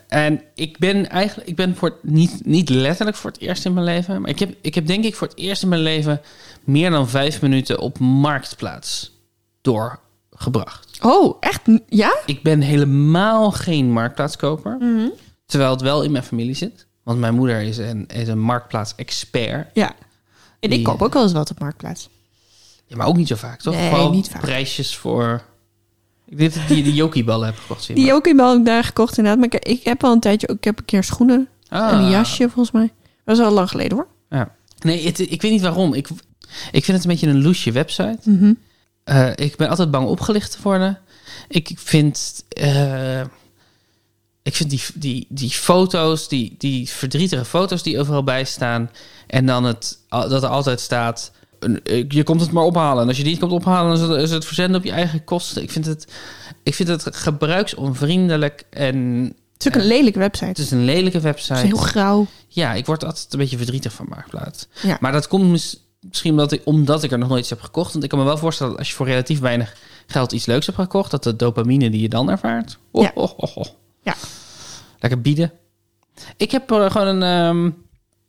S2: En ik ben eigenlijk, ik ben voor het- niet, niet letterlijk voor het eerst in mijn leven, maar ik heb, ik heb denk ik voor het eerst in mijn leven meer dan vijf minuten op marktplaats doorgebracht.
S1: Oh, echt? Ja?
S2: Ik ben helemaal geen marktplaatskoper,
S1: Mhm.
S2: terwijl het wel in mijn familie zit. Want mijn moeder is een, is een marktplaats-expert.
S1: Ja. En ik
S2: Die,
S1: koop ook wel eens wat op Marktplaats.
S2: Ja, maar ook niet zo vaak, toch?
S1: Nee,
S2: Vooral
S1: niet vaak.
S2: prijsjes voor... Ik denk dat die, die jokkieballen heb gekocht. zie je
S1: Die ook in België daar gekocht inderdaad. Maar ik, ik heb al een tijdje... Ik heb een keer schoenen
S2: maar. Ah.
S1: en een jasje volgens mij. Dat is al lang geleden hoor.
S2: Ja. Nee, het- ik weet niet waarom. Ik, ik vind het een beetje een loesje website.
S1: Mhm.
S2: Eh, ik ben altijd bang opgelicht te worden. Ik vind, eh, ik vind die, die, die foto's, die, die verdrietige foto's die overal bij staan. En dan het, al- dat er altijd staat, een- eh, je komt het maar ophalen. En als je die niet komt ophalen, dan is het, is het verzenden op je eigen kosten. Ik vind het, ik vind het gebruiksonvriendelijk en
S1: Het is ook een lelijke website.
S2: het is een lelijke
S1: het
S2: website.
S1: is heel grauw.
S2: Ja, ik word altijd een beetje verdrietig van Marktplaats.
S1: Ja.
S2: Maar dat komt mis- misschien omdat ik, omdat ik er nog nooit iets heb gekocht. Want ik kan me wel voorstellen dat als je voor relatief weinig geld iets leuks hebt gekocht... dat de dopamine die je dan ervaart... Oh,
S1: Ja.
S2: oh, oh, oh.
S1: Ja.
S2: Lekker bieden. Ik heb eh, gewoon een, ehm,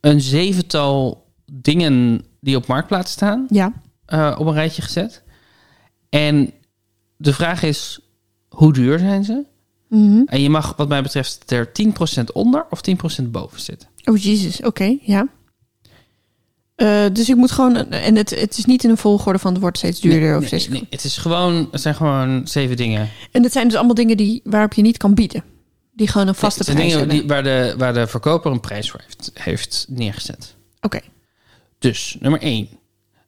S2: een zevental dingen die op Marktplaats staan...
S1: ja.
S2: eh, op een rijtje gezet. En de vraag is, hoe duur zijn ze?
S1: Mhm.
S2: En je mag wat mij betreft er 10% onder of 10% boven zitten.
S1: Oh, jezus. Oké, ja. Eh, dus ik moet gewoon... een- En het, het is niet in een volgorde van het wordt steeds duurder
S2: Nee,
S1: of
S2: nee,
S1: steeds...
S2: nee, het, is gewoon, het zijn gewoon zeven dingen.
S1: En dat zijn dus allemaal dingen die, waarop je niet kan bieden. Die gewoon een vaste
S2: Het zijn
S1: prijs
S2: dingen
S1: hebben.
S2: die, waar, de, waar de verkoper een prijs voor heeft, heeft neergezet.
S1: Oké.
S2: Dus, nummer 1.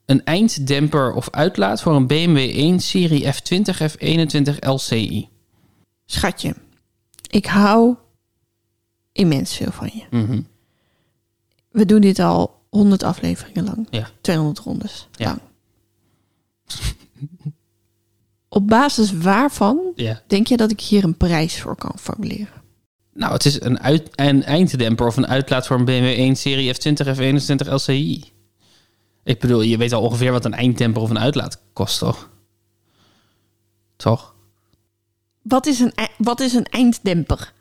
S2: Een einddemper of uitlaat voor een BMW 1 Serie F20 F21 LCI.
S1: Schatje, ik hou immens veel van je.
S2: Mhm.
S1: We doen dit al 100 afleveringen lang.
S2: Ja.
S1: 200 rondes
S2: Ja.
S1: lang. Op basis waarvan
S2: Ja.
S1: denk je dat ik hier een prijs voor kan formuleren?
S2: Nou, het is een, uit, een einddemper of een uitlaat voor een BMW 1 Serie F20 F21 LCI. Ik bedoel, je weet al ongeveer wat een einddemper of een uitlaat kost, toch? Toch?
S1: Wat is een, ei- wat is een einddemper?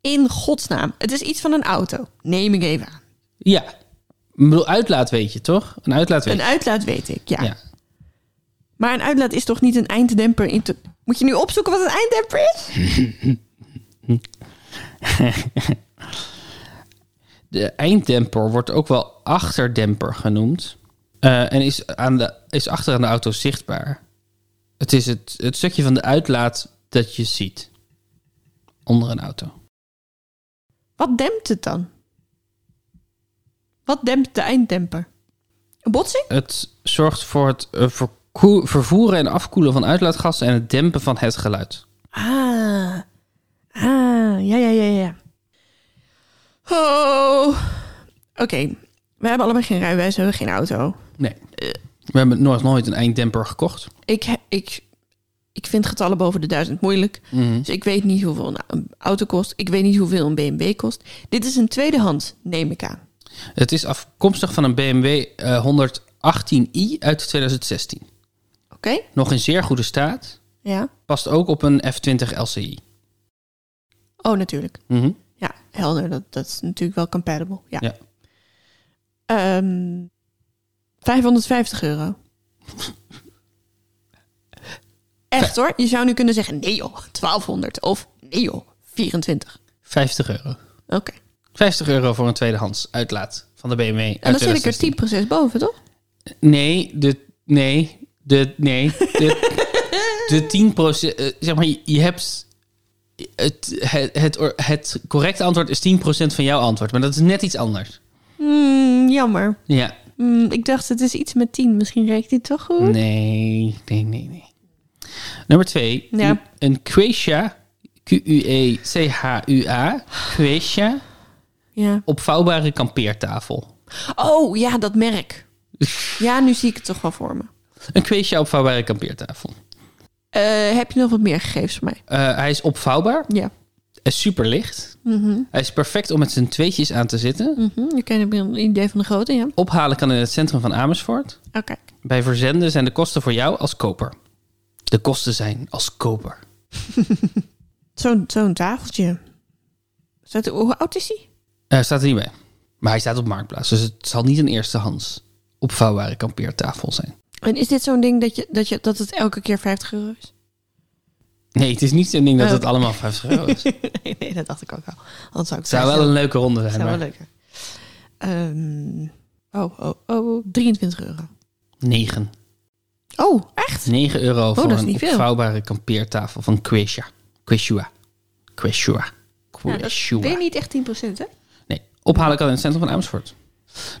S1: In godsnaam. Het is iets van een auto. Neem ik even aan.
S2: Ja. Ik bedoel, uitlaat weet je, toch? Een uitlaat weet
S1: Een uitlaat weet ik, ja.
S2: Ja.
S1: Maar een uitlaat is toch niet een einddemper? In te... Moet je nu opzoeken wat een einddemper is?
S2: De einddemper wordt ook wel achterdemper genoemd. eh, en is, aan de, is achter aan de auto zichtbaar. Het is het, het stukje van de uitlaat dat je ziet. Onder een auto.
S1: Wat dempt het dan? Wat dempt de einddemper? Een botsing?
S2: Het zorgt voor het eh, verkoe- vervoeren en afkoelen van uitlaatgassen en het dempen van het geluid.
S1: Ah. Ah, ja, ja, ja, ja. Oh. Oké. We hebben allebei geen rijbewijs, we hebben geen auto.
S2: Nee. eh, We hebben nog nooit een einddemper gekocht.
S1: Ik, he- ik, ik vind getallen boven de duizend moeilijk. Dus ik weet niet hoeveel een- een auto kost. Ik weet niet hoeveel een BMW kost. Dit is een tweedehand, neem ik aan.
S2: Het is afkomstig van een BMW eh, 118i uit 2016.
S1: Oké?
S2: Nog in zeer goede staat.
S1: Ja.
S2: Past ook op een F20 LCI.
S1: Oh, natuurlijk.
S2: Mhm.
S1: Ja, helder. Dat, dat is natuurlijk wel compatible. Ja.
S2: Ja.
S1: Ehm, 550 euro. Echt hoor. Je zou nu kunnen zeggen, nee joh, 1200. Of nee joh, 24.
S2: 50 euro.
S1: Oké.
S2: 50 euro voor een tweedehands uitlaat van de BMW.
S1: En dan
S2: uit
S1: zit ik
S2: 2016.
S1: er 10% boven, toch?
S2: Nee, de. Nee, de.
S1: *laughs*
S2: Nee. De, de 10 eh, zeg maar, je- je hebt. Het, het, het, or- het correcte antwoord is 10% van jouw antwoord. Maar dat is net iets anders.
S1: Hmm, jammer.
S2: Ja.
S1: Hmm, ik dacht, het is iets met 10. Misschien reikt die toch goed?
S2: Hm? Nee, nee, nee, nee. Nummer twee.
S1: Ja.
S2: Een- Een Quechua. E Q-U-E-C-H-U-A. Quechua.
S1: Ja.
S2: Opvouwbare kampeertafel.
S1: Oh, ja, dat *laughs* merk. Ja, nu zie ik het toch wel voor me.
S2: Een Quechua opvouwbare kampeertafel.
S1: Eh, heb je nog wat meer gegevens voor mij?
S2: Eh, hij is opvouwbaar.
S1: Ja.
S2: Hij is super licht.
S1: Mhm.
S2: Hij is perfect om met zijn tweetjes aan te zitten.
S1: Mhm. Je kent een idee van de grootte, ja? Oh,
S2: Ophalen kan in het centrum van Amersfoort.
S1: Oké.
S2: Bij verzenden zijn de kosten voor jou als koper. De kosten zijn als koper.
S1: Zo'n zo'n tafeltje. Staat er- hoe oud is die?
S2: Eh staat er niet bij. Maar hij staat op Marktplaats, dus het zal niet een eerstehands opvouwbare kampeertafel zijn.
S1: En is dit zo'n ding dat, je, dat, je, dat het elke keer 50 euro *laughs* is?
S2: Nee, het is niet zo'n ding dat
S1: Oh.
S2: het allemaal
S1: *laughs*
S2: 50 euro is. Het
S1: nee, nee, dat dacht ik ook wel. Anders zou ik
S2: zou wel een leuke ronde zijn.
S1: zou wel
S2: maar
S1: leuker. Ehm, oh, oh, oh, 23 euro.
S2: 9.
S1: Oh, echt?
S2: 9 euro voor
S1: Oh, dat is
S2: een
S1: niet veel.
S2: opvouwbare kampeertafel van Quechua. Quechua. Quechua.
S1: Nou, dat is weer
S2: Quechua.
S1: niet echt 10%, hè?
S2: Nee, ophalen kan in het centrum van Amersfoort.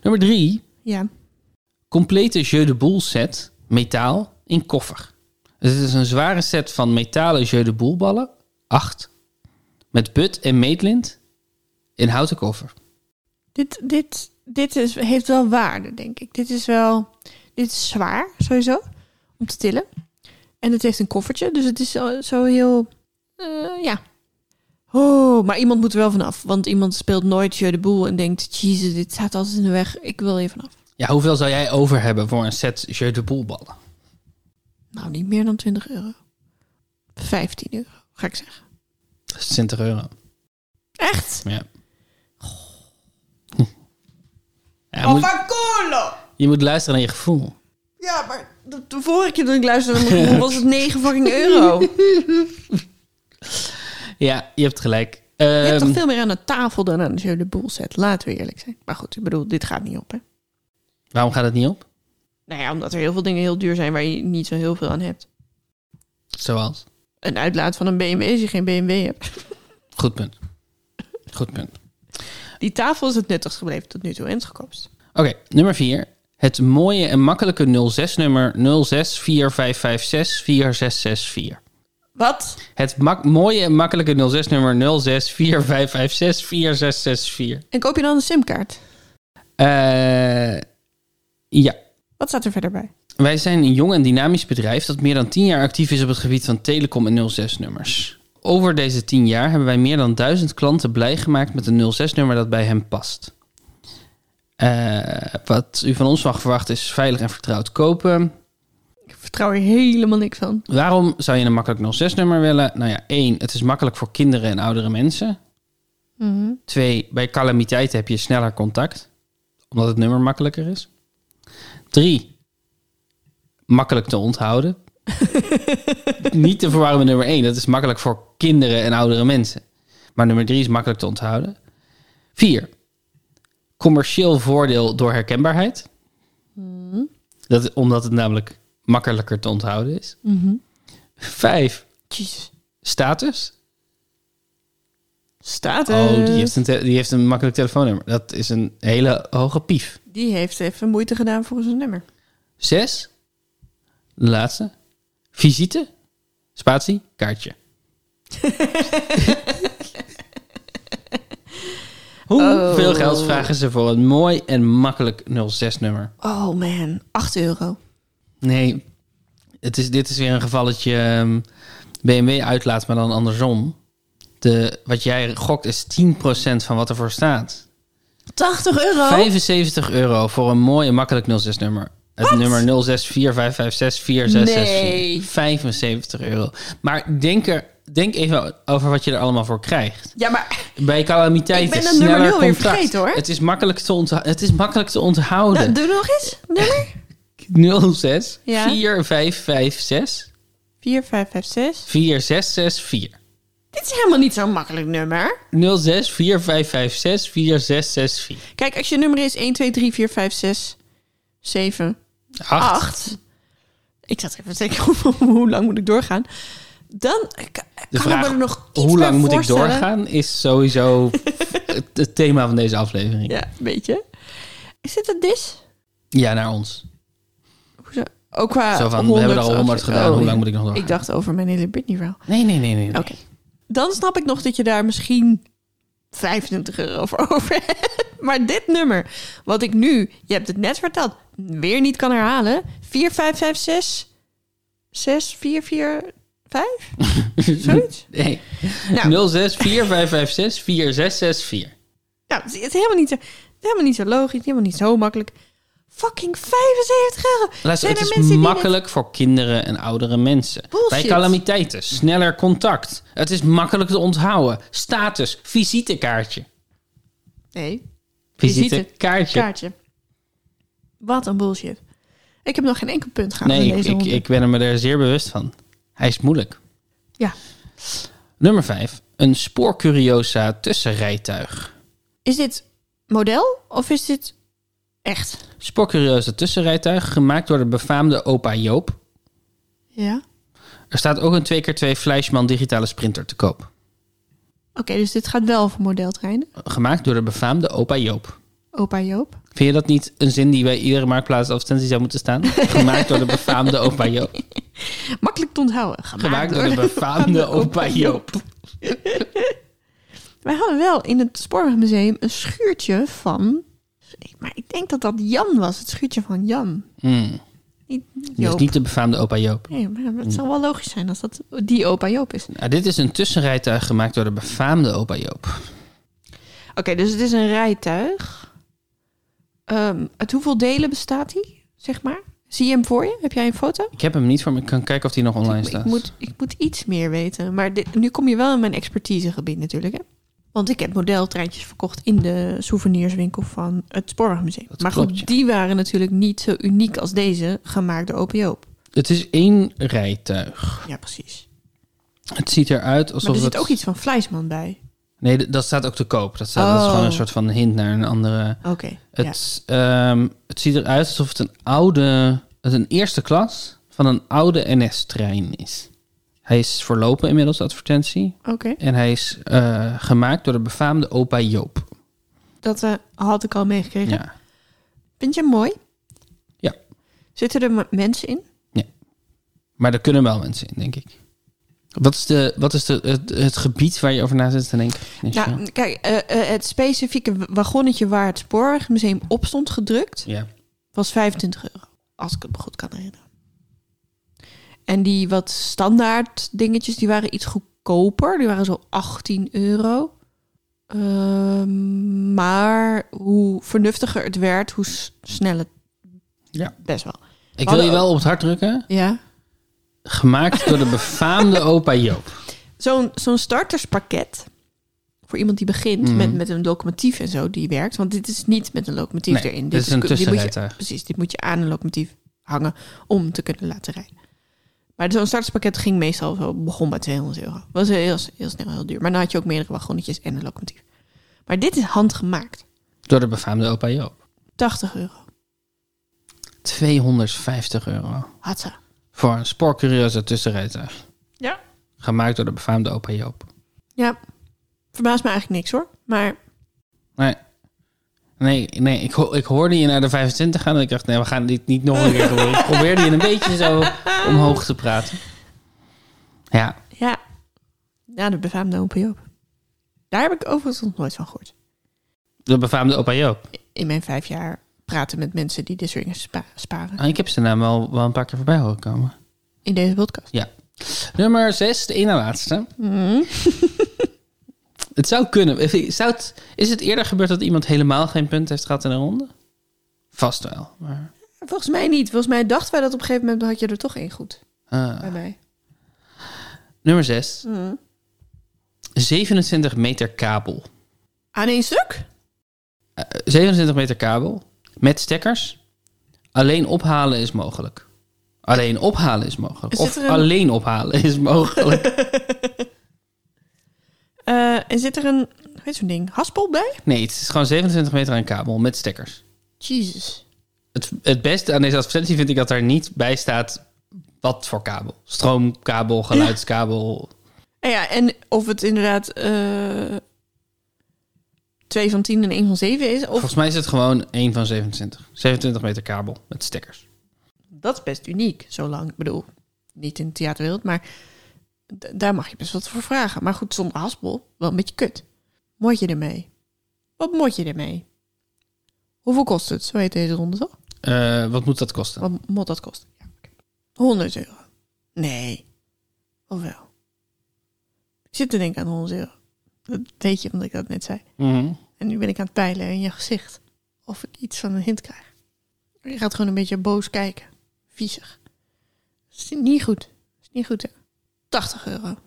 S2: Nummer 3.
S1: Ja.
S2: Complete jeu de boule set metaal in koffer. Dus het is een zware set van metalen jeu de boule ballen. 8. Met but en meetlint in houten koffer.
S1: Dit, dit, dit is, heeft wel waarde, denk ik. Dit is wel... Dit is zwaar, sowieso, om te tillen. En het heeft een koffertje, dus het is zo, zo heel... eh, ja. Oh, maar iemand moet er wel vanaf. Want iemand speelt nooit je de boel en denkt... Jezus, dit staat altijd in de weg. Ik wil hier vanaf.
S2: Ja, hoeveel zou jij over hebben voor een set jeu de boule ballen?
S1: Nou, niet meer dan 20 euro. 15 euro, ga ik zeggen.
S2: Dat is 20 euro.
S1: Echt?
S2: Ja. Ja, je, moet,
S1: Colo!
S2: je moet luisteren naar je gevoel.
S1: Ja, maar de, de vorige keer dat ik luisterde... naar mijn gevoel *laughs* was het 9 fucking euro.
S2: Ja, je hebt gelijk.
S1: Je hebt
S2: Ehm,
S1: toch veel meer aan de tafel dan aan de jeu de boel set. Laten we eerlijk zijn. Maar goed, ik bedoel, dit gaat niet op, hè?
S2: Waarom gaat het niet op?
S1: Nou ja, omdat er heel veel dingen heel duur zijn waar je niet zo heel veel aan hebt.
S2: Zoals.
S1: Een uitlaat van een BMW als je geen BMW hebt.
S2: Goed punt. Goed punt.
S1: Die tafel is het nuttigst gebleven tot nu toe en het goedkoopst.
S2: Oké, nummer 4. Het mooie en makkelijke 06-nummer 0645564664.
S1: Wat?
S2: Het mak- mooie en makkelijke 06-nummer 0645564664.
S1: En koop je dan een simkaart?
S2: Eh ja.
S1: Wat staat er verder bij?
S2: Wij zijn een jong en dynamisch bedrijf dat meer dan 10 jaar actief is op het gebied van telecom en 06-nummers. Over deze 10 jaar hebben wij meer dan 1000 klanten blij gemaakt met een 06-nummer dat bij hen past. Eh, wat u van ons mag verwachten is veilig en vertrouwd kopen.
S1: Ik vertrouw er helemaal niks van.
S2: Waarom zou je een makkelijk 06-nummer willen? Nou ja, één, Het is makkelijk voor kinderen en oudere mensen.
S1: Mhm.
S2: 2. Bij calamiteiten heb je sneller contact, omdat het nummer makkelijker is. 3. makkelijk te onthouden. Niet te verwarren met nummer 1. Dat is makkelijk voor kinderen en oudere mensen. Maar nummer 3 is makkelijk te onthouden. 4. Commercieel voordeel door herkenbaarheid. Dat, omdat het namelijk makkelijker te onthouden is. 5.
S1: Jezus.
S2: Status.
S1: Status.
S2: Oh, die heeft, een te- die heeft een makkelijk telefoonnummer. Dat is een hele hoge pief.
S1: Die heeft even moeite gedaan voor zijn nummer.
S2: Zes. De laatste. Visite. Spatie. Kaartje. Hoeveel
S1: Oh.
S2: geld vragen ze voor een mooi en makkelijk 06-nummer?
S1: Oh man, 8 euro.
S2: Nee, het is, dit is weer een gevalletje ehm, BMW uitlaat, maar dan andersom. De, wat jij gokt is 10% van wat ervoor staat.
S1: 80 euro?
S2: 75 euro voor een mooi en makkelijk 06-nummer. Het nummer 0645564664.
S1: Nee.
S2: 75 euro. Maar denk, er, denk even over wat je er allemaal voor krijgt.
S1: Ja, maar
S2: Bij calamiteiten
S1: Ik ben dat
S2: sneller
S1: nummer nul weer
S2: contact.
S1: vergeten, hoor.
S2: Het is makkelijk te, ontha- het is makkelijk te onthouden.
S1: doe nog eens. Nummer?
S2: 06
S1: Ja.
S2: 4556
S1: 4556.
S2: 4664.
S1: Dit is helemaal niet zo'n makkelijk nummer.
S2: 06 4556 4664.
S1: Kijk, als je nummer is 1, 2, 3, 4, 5, 6, 7,
S2: 8.
S1: 8. Ik zat even te denken, *laughs* hoe, hoe lang moet ik doorgaan? Dan k-
S2: De
S1: kan
S2: vraag
S1: ik me er nog iets
S2: hoe
S1: bij
S2: lang moet ik
S1: voorstellen.
S2: doorgaan
S1: *laughs*
S2: is sowieso het, het thema van deze aflevering. Ja,
S1: Ja, een beetje. Is dit een dis?
S2: naar ons.
S1: Hoezo? Ook qua
S2: Zo van, we
S1: 100
S2: hebben er al 100
S1: afle-
S2: gedaan, hoe
S1: ja.
S2: lang moet oh, ik nog doorgaan?
S1: Ik dacht over mijn hele Britney verhaal.
S2: Nee, nee, nee, nee. nee.
S1: Oké. Dan snap ik nog dat je daar misschien 25 euro voor *laughs* over hebt. Maar dit nummer, wat ik nu, je hebt het net verteld, weer niet kan herhalen. 4, 5, 5, 6, 6, 4, 4, 5?
S2: *laughs*
S1: Zoiets?
S2: *laughs* Nee.
S1: Nou.
S2: 06 4556 4664.
S1: Nou, het is het is helemaal niet, zo, het is helemaal niet zo logisch, helemaal niet zo makkelijk. Fucking 75 euro.
S2: Luister,
S1: Zijn er
S2: het is
S1: mensen die dit-
S2: makkelijk voor kinderen en oudere mensen.
S1: Bullshit.
S2: Bij calamiteiten, sneller contact. Het is makkelijk te onthouden. Status, visitekaartje.
S1: Nee,
S2: Visitekaartje.
S1: kaartje. Wat een bullshit. Ik heb nog geen enkel punt gehad
S2: Nee,
S1: in
S2: ik,
S1: deze
S2: ik,
S1: ronde.
S2: ik ben me er zeer bewust van. Hij is moeilijk.
S1: Ja.
S2: Nummer 5. Een spoorcuriosa tussenrijtuig.
S1: Is dit model of is dit echt?
S2: Spoorcuriosa tussenrijtuig, gemaakt door de befaamde opa Joop.
S1: Ja.
S2: Er staat ook een 2x2 Fleischman digitale sprinter te koop.
S1: Oké, dus dit gaat wel over modeltreinen.
S2: Gemaakt door de befaamde opa Joop.
S1: Opa Joop.
S2: Vind je dat niet een zin die bij iedere marktplaats advertentie zou moeten
S1: *laughs*
S2: staan? Gemaakt door de befaamde opa Joop.
S1: Makkelijk te onthouden.
S2: Gemaakt door de befaamde opa Joop.
S1: Wij hadden wel in het Spoorwegmuseum een schuurtje van... Maar ik denk dat dat Jan was. Het schuurtje van Jan.
S2: Hmm,
S1: Niet Joop.
S2: Dat is niet de befaamde opa Joop.
S1: Nee, maar het zou wel logisch zijn als dat die opa Joop is.
S2: Nou, dit is een tussenrijtuig gemaakt door de befaamde opa Joop.
S1: Oké, dus het is een rijtuig. Ehm, uit hoeveel delen bestaat hij, zeg maar? Zie je hem voor je? Heb jij een foto?
S2: Ik heb hem niet voor me. Ik kan kijken of hij nog online
S1: Ik
S2: staat.
S1: moet, ik moet iets meer weten. Maar dit, nu kom je wel in mijn expertisegebied natuurlijk, hè? Want ik heb modeltreintjes verkocht in de souvenirswinkel van het Spoorwegmuseum.
S2: Dat
S1: maar
S2: klopt,
S1: goed,
S2: ja.
S1: die waren natuurlijk niet zo uniek als deze, gemaakt door Open Joop.
S2: Het is één rijtuig.
S1: Ja, precies.
S2: Het ziet eruit alsof
S1: Maar er zit
S2: het...
S1: ook iets van Vleisman bij.
S2: Nee, d- dat staat ook te koop. Dat, staat, dat is
S1: Oh.
S2: gewoon een soort van hint naar een andere...
S1: Oké, ja.
S2: Het, ehm, het ziet eruit alsof het een oude... Het een eerste klas van een oude NS-trein is. Hij is verlopen inmiddels, de advertentie.
S1: Oké,
S2: En hij is eh, gemaakt door de befaamde opa Joop.
S1: dat eh, had ik al meegekregen.
S2: Ja.
S1: Vind je hem mooi?
S2: Ja.
S1: Zitten er m- mensen in?
S2: Maar daar kunnen wel mensen in, denk ik. Wat is, de, wat is de, het, het gebied waar je over na zit te denken? Michel?
S1: Nou, kijk, eh, eh, het specifieke w- wagonnetje waar het Spoorwegmuseum op stond gedrukt...
S2: ja.
S1: was 25 euro. Als ik het me goed kan herinneren. En die wat standaard dingetjes, die waren iets goedkoper. Die waren zo 18 euro. Ehm, maar hoe vernuftiger het werd, hoe s- sneller het...
S2: Ja.
S1: Best wel.
S2: Ik wil
S1: hadden
S2: je
S1: ook-
S2: wel op het hart drukken.
S1: Ja.
S2: Gemaakt door de
S1: *laughs*
S2: befaamde opa Joop.
S1: Zo'n zo'n starterspakket voor iemand die begint
S2: Mhm.
S1: met, met een locomotief en zo die werkt. Want dit is niet met een locomotief
S2: Nee,
S1: erin.
S2: dit is een
S1: dit moet je-
S2: tussenrijtuig.
S1: Precies, dit moet je aan een locomotief hangen om te kunnen laten rijden. Maar zo'n starterspakket ging meestal zo, begon bij 200 euro. Was heel, heel snel heel duur. Maar dan had je ook meerdere wagonnetjes en een locomotief. Maar dit is handgemaakt.
S2: Door de befaamde opa Joop.
S1: 80 euro.
S2: 250 euro.
S1: Had ze.
S2: Voor een spoorcurieuze tussenrijtuig.
S1: Ja.
S2: Gemaakt door de befaamde opa Joop.
S1: Ja. Verbaast me eigenlijk niks hoor. Maar
S2: Nee. Nee, nee ik, ho- ik hoorde je naar de 25 gaan en ik dacht, nee, we gaan dit niet nog een keer doen. Ik probeerde je een beetje zo omhoog te praten. Ja,
S1: ja. Ja, de befaamde Opa Joop. Daar heb ik overigens nog nooit van gehoord.
S2: de befaamde opa Joop.
S1: In mijn vijf jaar praten met mensen die dit soort dingen spa- sparen.
S2: Ah, ik heb zijn naam wel, wel een paar keer voorbij horen komen.
S1: In deze podcast.
S2: Nummer 6, de ene laatste. *laughs* Het zou kunnen. Zou het, is het eerder gebeurd dat iemand helemaal geen punt heeft gehad in een ronde? Vast wel. Maar,
S1: Volgens mij niet. Volgens mij dachten wij dat op een gegeven moment had je er toch één goed.
S2: eh,
S1: Bij mij.
S2: nummer 6.
S1: Mhm.
S2: 27 meter kabel.
S1: Aan één stuk?
S2: Eh, 27 meter kabel met stekkers. Alleen ophalen is mogelijk. Alleen ophalen is mogelijk.
S1: Zit
S2: of
S1: er een-
S2: alleen ophalen is
S1: *laughs*
S2: mogelijk.
S1: Eh, en zit er een, hoe heet zo'n ding, haspel bij?
S2: nee, het is gewoon 27 meter aan kabel met stekkers.
S1: Jesus.
S2: Het, het beste aan deze advertentie vind ik dat daar niet bij staat wat voor kabel. Stroomkabel, geluidskabel.
S1: En ja, en of het inderdaad eh, twee van tien en één van zeven is, of
S2: Volgens mij is het gewoon één van 27. 27 meter kabel met stekkers.
S1: dat is best uniek, zolang, ik bedoel, niet in de theaterwereld, maar d- daar mag je best wat voor vragen. Maar goed, zonder haspel, wel een beetje kut. Moet je ermee? Wat moet je ermee? Hoeveel kost het? Zo heet deze ronde toch?
S2: Eh, wat moet dat kosten?
S1: Wat moet dat kosten? Ja, oké. 100 euro. Nee. Of wel? Ik zit te denken aan 100 euro. Dat weet je, omdat ik dat net zei.
S2: Mhm.
S1: En nu ben ik aan het peilen in je gezicht. Of ik iets van een hint krijg. Je gaat gewoon een beetje boos kijken. Viezig. Dat is niet goed. Dat is niet goed, hè? 80 euro.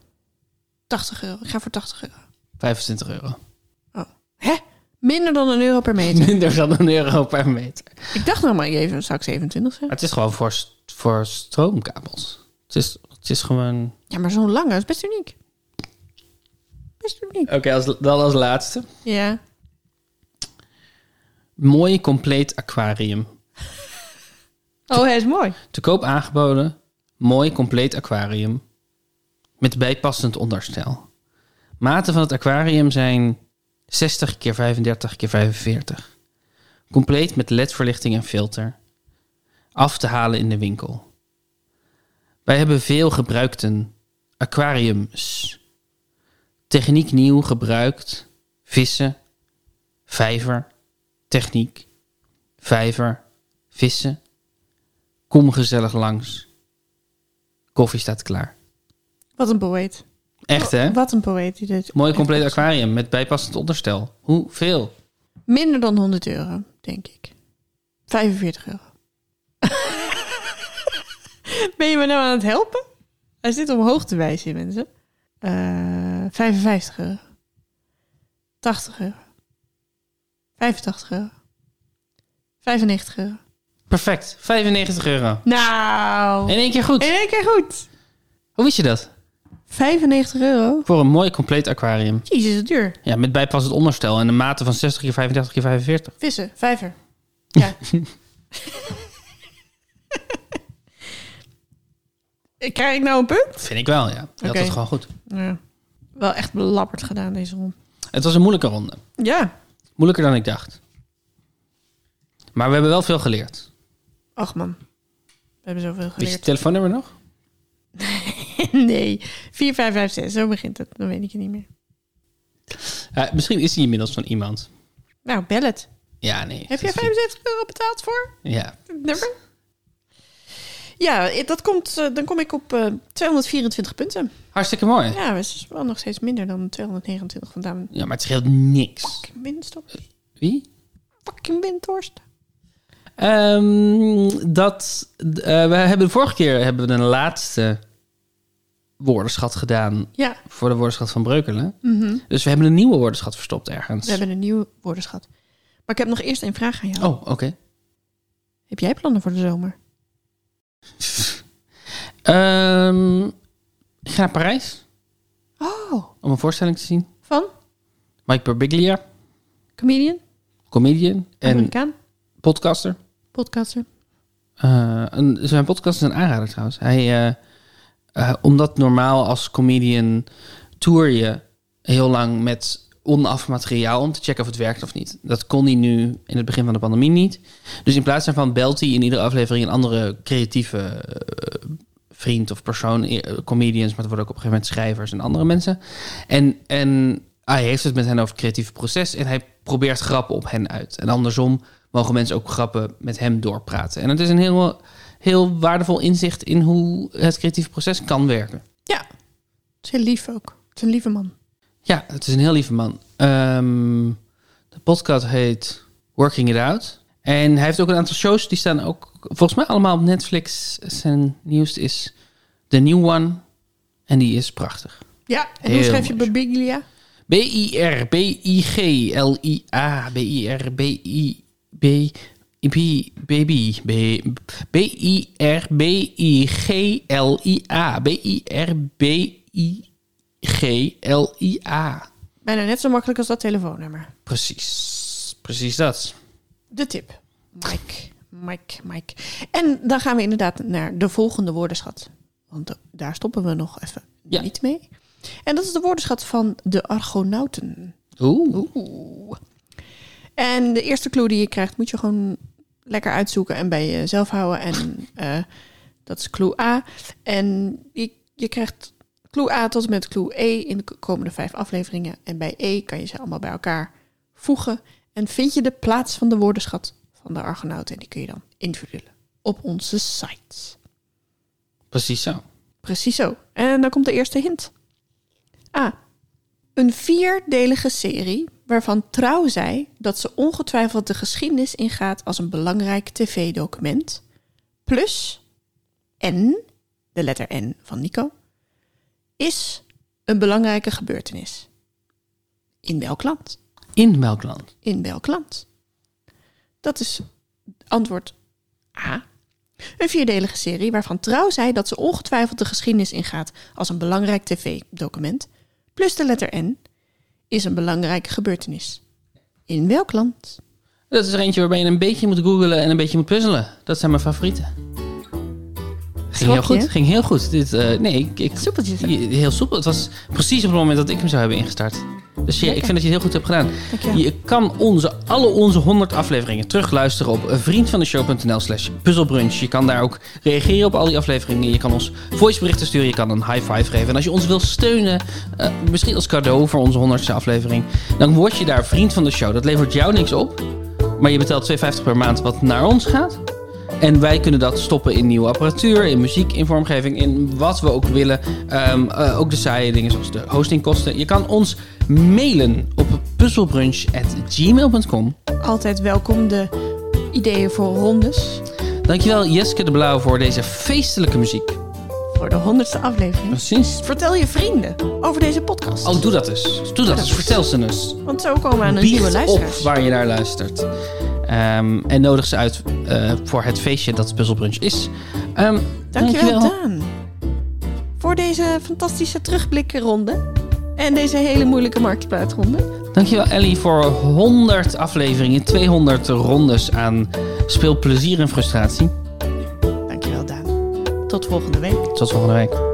S1: 80 euro. Ik ga voor 80 euro. Oh.
S2: 25 euro.
S1: Hè? Minder dan een euro per
S2: *laughs*
S1: meter.
S2: Minder dan een euro per meter.
S1: ik dacht nog maar even, zou ik 27 zeggen?
S2: Maar het is gewoon voor, st- voor stroomkabels. Het is, het is gewoon...
S1: Ja, maar zo'n lange is best uniek. Best uniek.
S2: Oké, als, dan als laatste.
S1: Ja.
S2: Mooi compleet aquarium.
S1: Oh, hij is mooi.
S2: Te koop aangeboden. Mooi compleet aquarium. Met bijpassend onderstel. Maten van het aquarium zijn 60 keer 35 keer 45. Compleet met ledverlichting en filter. Af te halen in de winkel. Wij hebben veel gebruikten. Aquariums. Techniek nieuw gebruikt. Vissen. Vijver. Techniek. Vijver. Vissen. Kom gezellig langs. Koffie staat klaar.
S1: Wat een poëet.
S2: Echt hè?
S1: Wat een poëet die dit.
S2: Mooi compleet aquarium met bijpassend onderstel. Hoeveel?
S1: Minder dan 100 euro, denk ik. 45 euro. *laughs* ben je me nou aan het helpen? Hij zit omhoog te wijzen, mensen. Eh 55 euro. 80 euro. 85 euro. 95 euro.
S2: Perfect. 95 euro.
S1: Nou,
S2: In één keer goed.
S1: in één keer goed.
S2: Hoe wist je dat?
S1: 95 euro.
S2: Voor een mooi compleet aquarium.
S1: Jezus, het duur.
S2: Ja, met bijpassend onderstel en een mate van 60 keer 35 keer 45.
S1: Vissen, *laughs* vijver. Ja. Krijg ik nou een punt?
S2: Vind ik wel, ja. Je had
S1: Oké.
S2: het gewoon goed.
S1: Ja. Wel echt belabberd gedaan deze hond.
S2: Het was een moeilijke ronde.
S1: Ja.
S2: Moeilijker dan ik dacht. Maar we hebben wel veel geleerd.
S1: Ach man. We hebben zoveel
S2: Weet je het
S1: geleerd.
S2: telefoonnummer nog?
S1: *laughs* nee. 4556, zo begint het. Dan weet ik het niet meer.
S2: Ja, Eh, misschien is hij inmiddels van iemand.
S1: Nou, bel het.
S2: Ja, nee.
S1: Heb jij
S2: Dat is-
S1: 75 euro betaald voor
S2: Ja.
S1: het nummer? Ja, dat komt, eh, dan kom ik op eh, 224 punten.
S2: Hartstikke mooi.
S1: Ja, dat is wel nog steeds minder dan 229 vandaan.
S2: Ja, maar het scheelt niks.
S1: Fucking windstop.
S2: Wie?
S1: Fucking windhorst.
S2: Ehm, dat, eh, we hebben de vorige keer hebben we een laatste woordenschat gedaan
S1: Ja,
S2: voor de woordenschat van Breukelen.
S1: Mhm.
S2: Dus we hebben een nieuwe woordenschat verstopt ergens.
S1: we hebben een nieuwe woordenschat. Oh. Maar ik heb nog eerst een vraag aan jou.
S2: Oh, oké. *laughs*
S1: Heb jij plannen voor de zomer?
S2: Ehm, ik ga naar Parijs
S1: Oh,
S2: om een voorstelling te zien.
S1: van?
S2: Mike Birbiglia,
S1: Comedian?
S2: comedian en
S1: Amerikaan?
S2: podcaster.
S1: Podcaster?
S2: Eh, een- zijn podcast is een aanrader trouwens. Hij, eh, eh, omdat normaal als comedian tour je heel lang met onaf materiaal om te checken of het werkt of niet. Dat kon hij nu in het begin van de pandemie niet. Dus in plaats daarvan belt hij in iedere aflevering een andere creatieve eh, vriend of persoon, eh, comedians, maar het worden ook op een gegeven moment schrijvers en andere mensen. En, en hij heeft het met hen over het creatieve proces en hij probeert grappen op hen uit. En andersom mogen mensen ook grappen met hem doorpraten. En het is een heel, heel waardevol inzicht in hoe het creatieve proces kan werken.
S1: Ja. Het is heel lief ook. Het is een lieve man.
S2: Ja, het is een heel lieve man. Ehm, de podcast heet Working It Out. En hij heeft ook een aantal shows die staan ook volgens mij allemaal op Netflix. Zijn nieuwste is The New One. En die is prachtig.
S1: Ja, en
S2: Heel
S1: hoe schrijf je
S2: mooi.
S1: Babiglia?
S2: B-I-R-B-I-G-L-I-A. B-I-R-B-I-B. B- Baby. B- B-I-R-B-I-G-L-I-A. B-I-R-B-I-G-L-I-A.
S1: Bijna net zo makkelijk als dat telefoonnummer.
S2: Precies. Precies dat.
S1: De tip. Mike, Mike, Mike. En dan gaan we inderdaad naar de volgende woordenschat. Want da- daar stoppen we nog even
S2: Ja.
S1: niet mee. En dat is de woordenschat van de Argonauten.
S2: Oeh.
S1: Oeh. En de eerste clue die je krijgt, moet je gewoon lekker uitzoeken en bij jezelf houden. En eh, dat is clue A. En je, je krijgt clue A tot en met clue E in de k- komende vijf afleveringen. En bij E kan je ze allemaal bij elkaar voegen. En vind je de plaats van de woordenschat van de Argonauten. En die kun je dan invullen op onze site.
S2: Precies zo.
S1: Precies zo. En dan komt de eerste hint. A. Een vierdelige serie waarvan Trouw zei dat ze ongetwijfeld de geschiedenis ingaat als een belangrijk tv-document. Plus N, de letter N van Nico, is een belangrijke gebeurtenis. In welk land?
S2: In welk land?
S1: In welk land? Dat is antwoord A. Een vierdelige serie waarvan Trouw zei dat ze ongetwijfeld de geschiedenis ingaat als een belangrijk tv-document, plus de letter N, is een belangrijke gebeurtenis. In welk land?
S2: Dat is er eentje waarbij je een beetje moet googlen en een beetje moet puzzelen. Dat zijn mijn favorieten. Ging
S1: Schrok
S2: heel
S1: je?
S2: goed. Ging heel goed. Dit, eh, nee, ik, ik,
S1: Soepeltjes.
S2: je- heel soepel. Het was precies op het moment dat ik hem zou hebben ingestart. Dus ja, ik
S1: Lekker.
S2: vind dat je het heel goed hebt gedaan.
S1: Dankjewel.
S2: Je kan onze, alle onze 100 afleveringen terugluisteren op vriendvandeshow.nl slash puzzelbrunch. Je kan daar ook reageren op al die afleveringen. Je kan ons voiceberichten sturen. Je kan een high five geven. En als je ons wil steunen, eh, misschien als cadeau voor onze 100ste aflevering, dan word je daar vriend van de show. Dat levert jou niks op. Maar je betaalt 2,50 per maand wat naar ons gaat. En wij kunnen dat stoppen in nieuwe apparatuur, in muziek, in vormgeving, in wat we ook willen. Ehm, eh, ook de saaie dingen zoals de hostingkosten. Je kan ons mailen op puzzelbrunch.gmail.com.
S1: Altijd welkom de ideeën voor rondes
S2: Dankjewel Jeske de Blauw voor deze feestelijke muziek.
S1: voor de honderdste aflevering.
S2: Precies.
S1: Vertel je vrienden over deze podcast.
S2: Oh, doe dat eens. Doe dat eens. Vertel ze eens.
S1: Want zo komen we aan een nieuwe
S2: Biecht op
S1: luisteraars.
S2: waar je naar luistert. Ehm, en nodig ze uit eh, voor het feestje dat Puzzelbrunch is. Ehm,
S1: Dankjewel, Daan. Voor deze fantastische terugblikkenronde. En deze hele moeilijke marktplaatronde.
S2: Dankjewel Ellie voor 100 afleveringen, 200 rondes aan speelplezier en frustratie.
S1: Dankjewel, Daan. Tot volgende week.
S2: Tot volgende week.